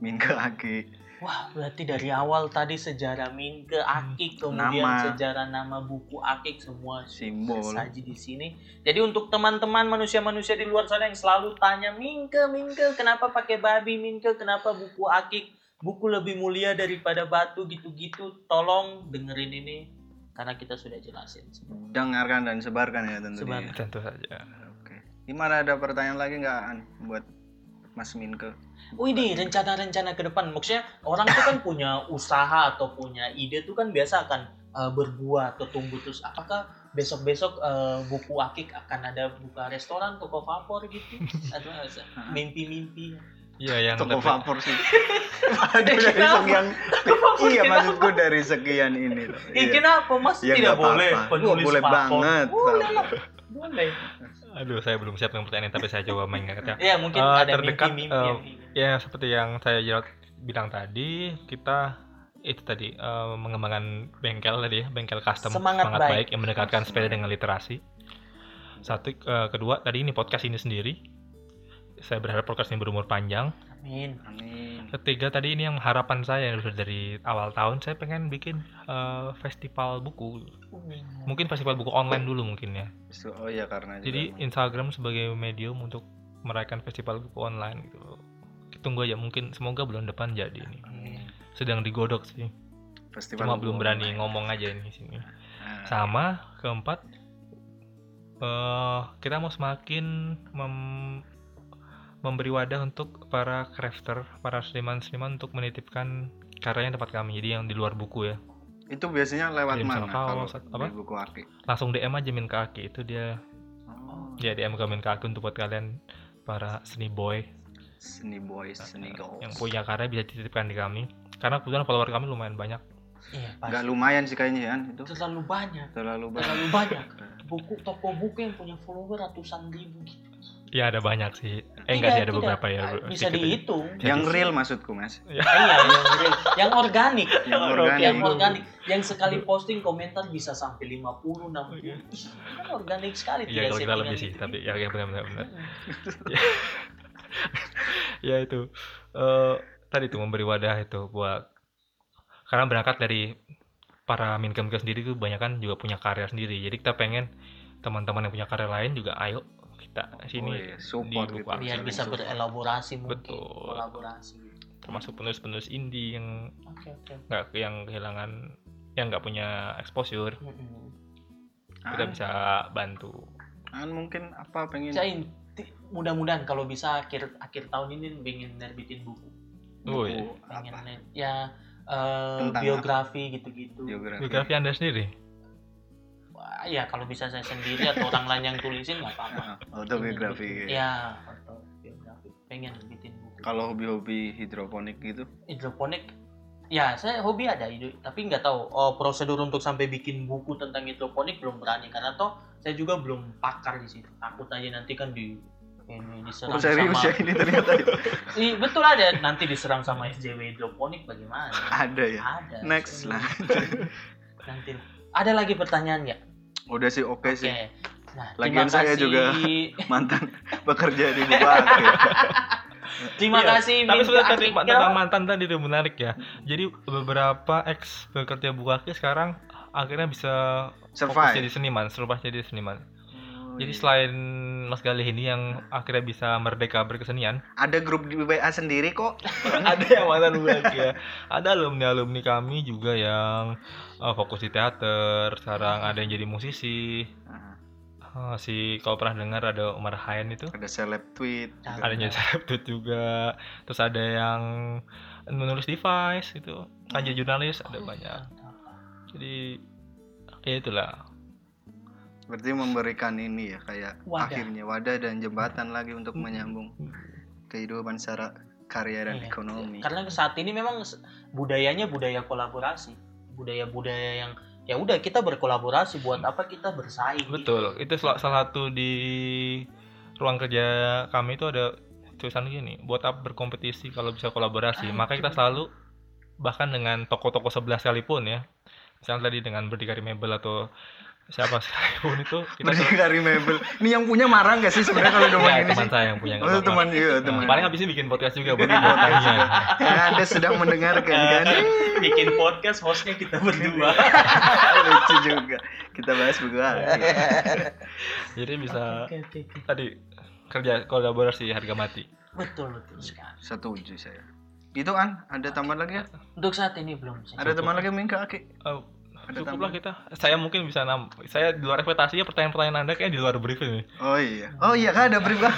[SPEAKER 1] Minka Aki.
[SPEAKER 2] Wah, berarti dari awal tadi sejarah Min ke Akik, kemudian
[SPEAKER 1] Hmm. Nama.
[SPEAKER 2] sejarah nama buku Akik semua
[SPEAKER 1] Simbol.
[SPEAKER 2] saji di sini. Jadi untuk teman-teman manusia-manusia di luar sana yang selalu tanya Minke, Minke, kenapa pakai babi Minke, kenapa buku Akik, buku lebih mulia daripada batu gitu-gitu, tolong dengerin ini karena kita sudah jelasin.
[SPEAKER 1] Dengarkan dan sebarkan ya tentunya.
[SPEAKER 2] Sebarkan.
[SPEAKER 3] tentu saja
[SPEAKER 1] Oke. Gimana ada pertanyaan lagi nggak An, buat Mas Minke?
[SPEAKER 2] Wih di rencana-rencana ke depan, maksudnya orang tuh kan punya usaha atau punya ide tuh kan biasa akan eh, berbuah atau tumbuh terus. Apakah besok-besok eh, buku akik akan ada buka restoran, toko favorit gitu? Atau
[SPEAKER 1] Hah?
[SPEAKER 2] mimpi-mimpi?
[SPEAKER 3] ya yang
[SPEAKER 1] Toko
[SPEAKER 3] lebih-
[SPEAKER 1] vapor sih. Aduh, dari
[SPEAKER 2] Eh, Kenapa?
[SPEAKER 1] sekian.
[SPEAKER 2] Kenapa?
[SPEAKER 1] Iya
[SPEAKER 2] Kenapa?
[SPEAKER 1] maksudku dari sekian ini. loh.
[SPEAKER 2] Eh,
[SPEAKER 1] Iya.
[SPEAKER 2] kenapa mas
[SPEAKER 1] Ya,
[SPEAKER 2] tidak
[SPEAKER 1] nggak
[SPEAKER 2] boleh
[SPEAKER 1] apa-apa.
[SPEAKER 2] penulis
[SPEAKER 1] Wah, boleh
[SPEAKER 2] favorit?
[SPEAKER 1] banget.
[SPEAKER 3] Oh,
[SPEAKER 2] Boleh
[SPEAKER 3] iya,
[SPEAKER 2] lah, boleh.
[SPEAKER 3] aduh saya belum siap dengan pertanyaan ini, tapi saya coba mengingatkan
[SPEAKER 2] Ya mungkin
[SPEAKER 3] Eh,
[SPEAKER 2] ada
[SPEAKER 3] terdekat,
[SPEAKER 2] mimpi-mimpi.
[SPEAKER 3] eh,
[SPEAKER 2] yang ingin.
[SPEAKER 3] Ya seperti yang saya jelas bilang tadi kita itu tadi eh, mengembangkan bengkel tadi ya bengkel custom
[SPEAKER 2] Semangat baik.
[SPEAKER 3] yang mendekatkan sepeda dengan literasi satu eh, kedua tadi ini podcast ini sendiri saya berharap podcast ini berumur panjang
[SPEAKER 2] Amin.
[SPEAKER 1] Amin.
[SPEAKER 3] ketiga tadi ini yang harapan saya yang sudah dari awal tahun saya pengen bikin eh, festival buku
[SPEAKER 2] Amin.
[SPEAKER 3] mungkin festival buku online dulu mungkin ya
[SPEAKER 1] So, oh ya karena
[SPEAKER 3] jadi
[SPEAKER 1] juga
[SPEAKER 3] Instagram sebagai medium untuk merayakan festival buku online gitu tunggu aja mungkin semoga bulan depan jadi ini sedang digodok sih
[SPEAKER 1] Festival
[SPEAKER 3] cuma belum
[SPEAKER 1] buku
[SPEAKER 3] berani
[SPEAKER 1] online.
[SPEAKER 3] ngomong aja ini sini
[SPEAKER 1] Nah,
[SPEAKER 3] sama keempat eh kita mau semakin mem- memberi wadah untuk para crafter para seniman-seniman untuk menitipkan karyanya tempat kami jadi yang di luar buku ya
[SPEAKER 1] itu biasanya lewat
[SPEAKER 3] Jadi
[SPEAKER 1] mana
[SPEAKER 3] misalnya
[SPEAKER 1] kalau
[SPEAKER 3] kaos atau apa?
[SPEAKER 1] apa? buku aki
[SPEAKER 3] langsung DM aja min ke Aki itu dia
[SPEAKER 1] oh,
[SPEAKER 3] ya DM ke min ke Aki untuk buat kalian para seni boy
[SPEAKER 1] seni boys seni girls
[SPEAKER 3] yang punya karya bisa dititipkan di kami karena kebetulan follower kami lumayan banyak
[SPEAKER 2] Iya,
[SPEAKER 1] nggak
[SPEAKER 2] pasti.
[SPEAKER 1] lumayan sih kayaknya kan itu
[SPEAKER 2] Terlalu banyak.
[SPEAKER 1] terlalu banyak
[SPEAKER 2] Terlalu banyak. Buku toko buku yang punya follower ratusan ribu gitu.
[SPEAKER 3] ya ada banyak sih eh
[SPEAKER 2] Tidak,
[SPEAKER 3] enggak sih ada
[SPEAKER 2] tidak.
[SPEAKER 3] beberapa ya
[SPEAKER 2] Ah,
[SPEAKER 3] bro.
[SPEAKER 2] Bisa
[SPEAKER 3] Sedikit aja.
[SPEAKER 2] dihitung.
[SPEAKER 1] yang real maksudku mas
[SPEAKER 2] Ah, iya, yang real. Yang organik.
[SPEAKER 1] Yang organik.
[SPEAKER 2] yang organik. Yang sekali posting komentar bisa sampai 50, 60. Ih, Kan organik sekali.
[SPEAKER 3] Oh, Iya
[SPEAKER 2] tidak
[SPEAKER 3] kalau kita
[SPEAKER 2] settingan
[SPEAKER 3] lebih sih,
[SPEAKER 2] gitu.
[SPEAKER 3] tapi ya, ya benar benar benar.
[SPEAKER 2] Mm.
[SPEAKER 3] Ya itu Eh, tadi tuh memberi wadah itu buat karena berangkat dari para minkem sendiri tuh banyak kan juga punya karya sendiri. Jadi kita pengen teman-teman yang punya karya lain juga ayo kita
[SPEAKER 1] Oh,
[SPEAKER 3] sini
[SPEAKER 1] iya, support
[SPEAKER 3] di buku
[SPEAKER 1] gitu
[SPEAKER 3] Aki.
[SPEAKER 2] Biar
[SPEAKER 1] saling
[SPEAKER 2] bisa
[SPEAKER 1] support.
[SPEAKER 2] berelaborasi mungkin.
[SPEAKER 3] Betul.
[SPEAKER 2] Kolaborasi.
[SPEAKER 3] termasuk penulis-penulis indie yang
[SPEAKER 2] Oke, oke.
[SPEAKER 3] nggak yang kehilangan yang nggak punya exposure
[SPEAKER 2] Mm-mm.
[SPEAKER 3] kita
[SPEAKER 1] An-
[SPEAKER 3] bisa bantu.
[SPEAKER 1] An Ah, kan mungkin apa pengen
[SPEAKER 2] Saya inti- mudah-mudahan kalau bisa akhir akhir tahun ini pengen nerbitin buku.
[SPEAKER 1] buku
[SPEAKER 3] Woi,
[SPEAKER 2] Pengen
[SPEAKER 1] apa
[SPEAKER 2] ner- ya eh,
[SPEAKER 1] Tentang
[SPEAKER 2] biografi gitu-gitu.
[SPEAKER 1] biografi
[SPEAKER 3] biografi anda sendiri.
[SPEAKER 2] Wah, ya kalau bisa saya sendiri atau orang lain yang tulisin nggak apa-apa.
[SPEAKER 1] Ah, autobiografi
[SPEAKER 2] Pengen nerbitin- Ya, autobiografi. Pengen nerbitin buku.
[SPEAKER 1] kalau hobi-hobi hidroponik gitu
[SPEAKER 2] Hidroponik Ya, saya hobi ada hidro- tapi nggak tahu oh, prosedur untuk sampai bikin buku tentang hidroponik belum berani karena toh saya juga belum pakar di situ. Takut aja nanti kan di ini diserang
[SPEAKER 1] oh, serius
[SPEAKER 2] sama
[SPEAKER 1] ya ini ternyata ya?
[SPEAKER 2] Ih, betul ada nanti diserang sama SJW hidroponik bagaimana?
[SPEAKER 1] ada ya
[SPEAKER 2] Ada.
[SPEAKER 1] next lah
[SPEAKER 2] Nanti ada lagi pertanyaan nggak?
[SPEAKER 1] udah sih oke
[SPEAKER 2] Oke.
[SPEAKER 1] sih
[SPEAKER 2] Nah,
[SPEAKER 1] Lagian
[SPEAKER 2] terima
[SPEAKER 1] saya
[SPEAKER 2] kasih-
[SPEAKER 1] juga. mantan bekerja di buku aki
[SPEAKER 2] Terima
[SPEAKER 3] Iya,
[SPEAKER 2] kasih. Min
[SPEAKER 3] Tapi sebenarnya tadi
[SPEAKER 2] Akikil.
[SPEAKER 3] Pak, tentang mantan tadi itu menarik ya. Jadi beberapa ex bekerja buaki sekarang akhirnya bisa fokus jadi
[SPEAKER 1] survive
[SPEAKER 3] seniman, serupa jadi seniman.
[SPEAKER 1] Oh,
[SPEAKER 3] Jadi
[SPEAKER 1] iya.
[SPEAKER 3] selain Mas Galih ini yang akhirnya bisa merdeka berkesenian,
[SPEAKER 1] ada grup di WA sendiri kok
[SPEAKER 3] ada yang mantan buaki ya. Ada alumni alumni kami juga yang eh, fokus di teater. Sekarang ada yang jadi musisi.
[SPEAKER 1] Ah,
[SPEAKER 3] Eh, si kalau pernah dengar ada Umar Hayan itu?
[SPEAKER 1] ada seleb tweet
[SPEAKER 2] Ada
[SPEAKER 3] ada yang selebgram juga terus ada yang menulis device gitu aja jurnalis
[SPEAKER 2] Oh.
[SPEAKER 3] ada banyak jadi ya itulah
[SPEAKER 1] berarti memberikan ini ya kayak
[SPEAKER 2] Wadah.
[SPEAKER 1] akhirnya wadah dan jembatan lagi untuk menyambung kehidupan secara karya dan
[SPEAKER 2] Iya.
[SPEAKER 1] ekonomi
[SPEAKER 2] Karena saat ini memang s- budayanya budaya kolaborasi, budaya-budaya yang ya udah kita berkolaborasi buat apa kita bersaing.
[SPEAKER 3] betul itu sel- salah satu di ruang kerja kami itu ada tulisan gini buat apa berkompetisi kalau bisa kolaborasi
[SPEAKER 2] Ah,
[SPEAKER 3] maka
[SPEAKER 2] itu
[SPEAKER 3] kita selalu bahkan dengan toko-toko sebelah sekalipun ya misalnya tadi dengan berdikari mebel atau siapa sekalipun itu kita selalu-
[SPEAKER 1] berdikari mebel ini yang punya marah nggak sih sebenarnya kalau ngomong
[SPEAKER 3] ya,
[SPEAKER 1] ini
[SPEAKER 3] teman
[SPEAKER 1] sih
[SPEAKER 3] saya yang punya nggak
[SPEAKER 1] oh
[SPEAKER 3] apa-apa.
[SPEAKER 1] teman iya
[SPEAKER 3] Nah,
[SPEAKER 1] teman
[SPEAKER 3] paling habisnya bikin podcast juga buat
[SPEAKER 1] Bikin podcast
[SPEAKER 3] ibu.
[SPEAKER 1] juga. Yang anda sedang mendengarkan kan
[SPEAKER 2] Bikin podcast hostnya kita berdua.
[SPEAKER 3] Iya.
[SPEAKER 1] lucu juga kita bahas berdua
[SPEAKER 3] Jadi bisa
[SPEAKER 2] Oke, oke, oke.
[SPEAKER 3] tadi kerja kolaborasi harga mati.
[SPEAKER 2] Betul betul sekali.
[SPEAKER 1] setuju saya itu an ada tambahan lagi ya
[SPEAKER 2] Untuk saat ini belum sih.
[SPEAKER 1] ada teman lagi mingka aki
[SPEAKER 3] Oh,
[SPEAKER 1] Ada
[SPEAKER 3] cukuplah kita. Saya mungkin bisa nam. Saya di luar ekspektasinya pertanyaan-pertanyaan Anda kayak di luar brief ini.
[SPEAKER 1] oh iya oh iya kan ada brief Kak.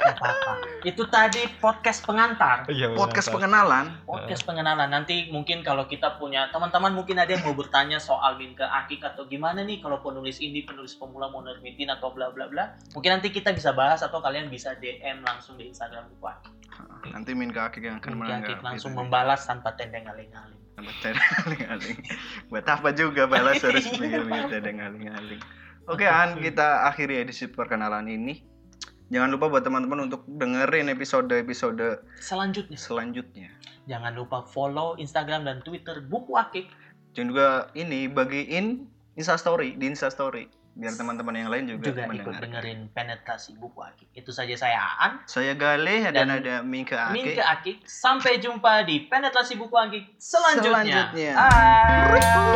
[SPEAKER 2] Nggak apa-apa. Itu tadi podcast pengantar.
[SPEAKER 3] Iya,
[SPEAKER 1] podcast
[SPEAKER 3] benar.
[SPEAKER 1] pengenalan
[SPEAKER 2] podcast pengenalan nanti mungkin kalau kita punya teman-teman mungkin ada yang mau bertanya soal link ke akik atau gimana nih kalau penulis indie penulis pemula mau nerbitin atau bla bla bla mungkin nanti kita bisa bahas atau kalian bisa DM langsung di Instagram buku akik
[SPEAKER 1] nanti mingka aki yang akan
[SPEAKER 2] Mungkin akik
[SPEAKER 1] menanggapi
[SPEAKER 2] langsung membalas tanpa tendeng aling-aling
[SPEAKER 1] Tambah tedeng aling-aling. Buat apa juga balas harus mikir-mikir tedeng aling-aling. Oke An, kita akhiri edisi perkenalan ini. Jangan lupa buat teman-teman untuk dengerin episode-episode
[SPEAKER 2] selanjutnya
[SPEAKER 1] selanjutnya.
[SPEAKER 2] jangan lupa follow Instagram dan Twitter buku akik
[SPEAKER 1] Dan juga ini bagiin Instastory di Instastory biar teman-teman yang lain juga,
[SPEAKER 2] juga ikut
[SPEAKER 1] mendengar.
[SPEAKER 2] dengerin penetrasi buku akik itu saja saya Aan
[SPEAKER 1] Saya Galih
[SPEAKER 2] Dan
[SPEAKER 1] dan, ada Mingka
[SPEAKER 2] Min
[SPEAKER 1] Ake.
[SPEAKER 2] ke akik sampai jumpa di penetrasi buku akik selanjutnya,
[SPEAKER 1] Selanjutnya.
[SPEAKER 2] Bye.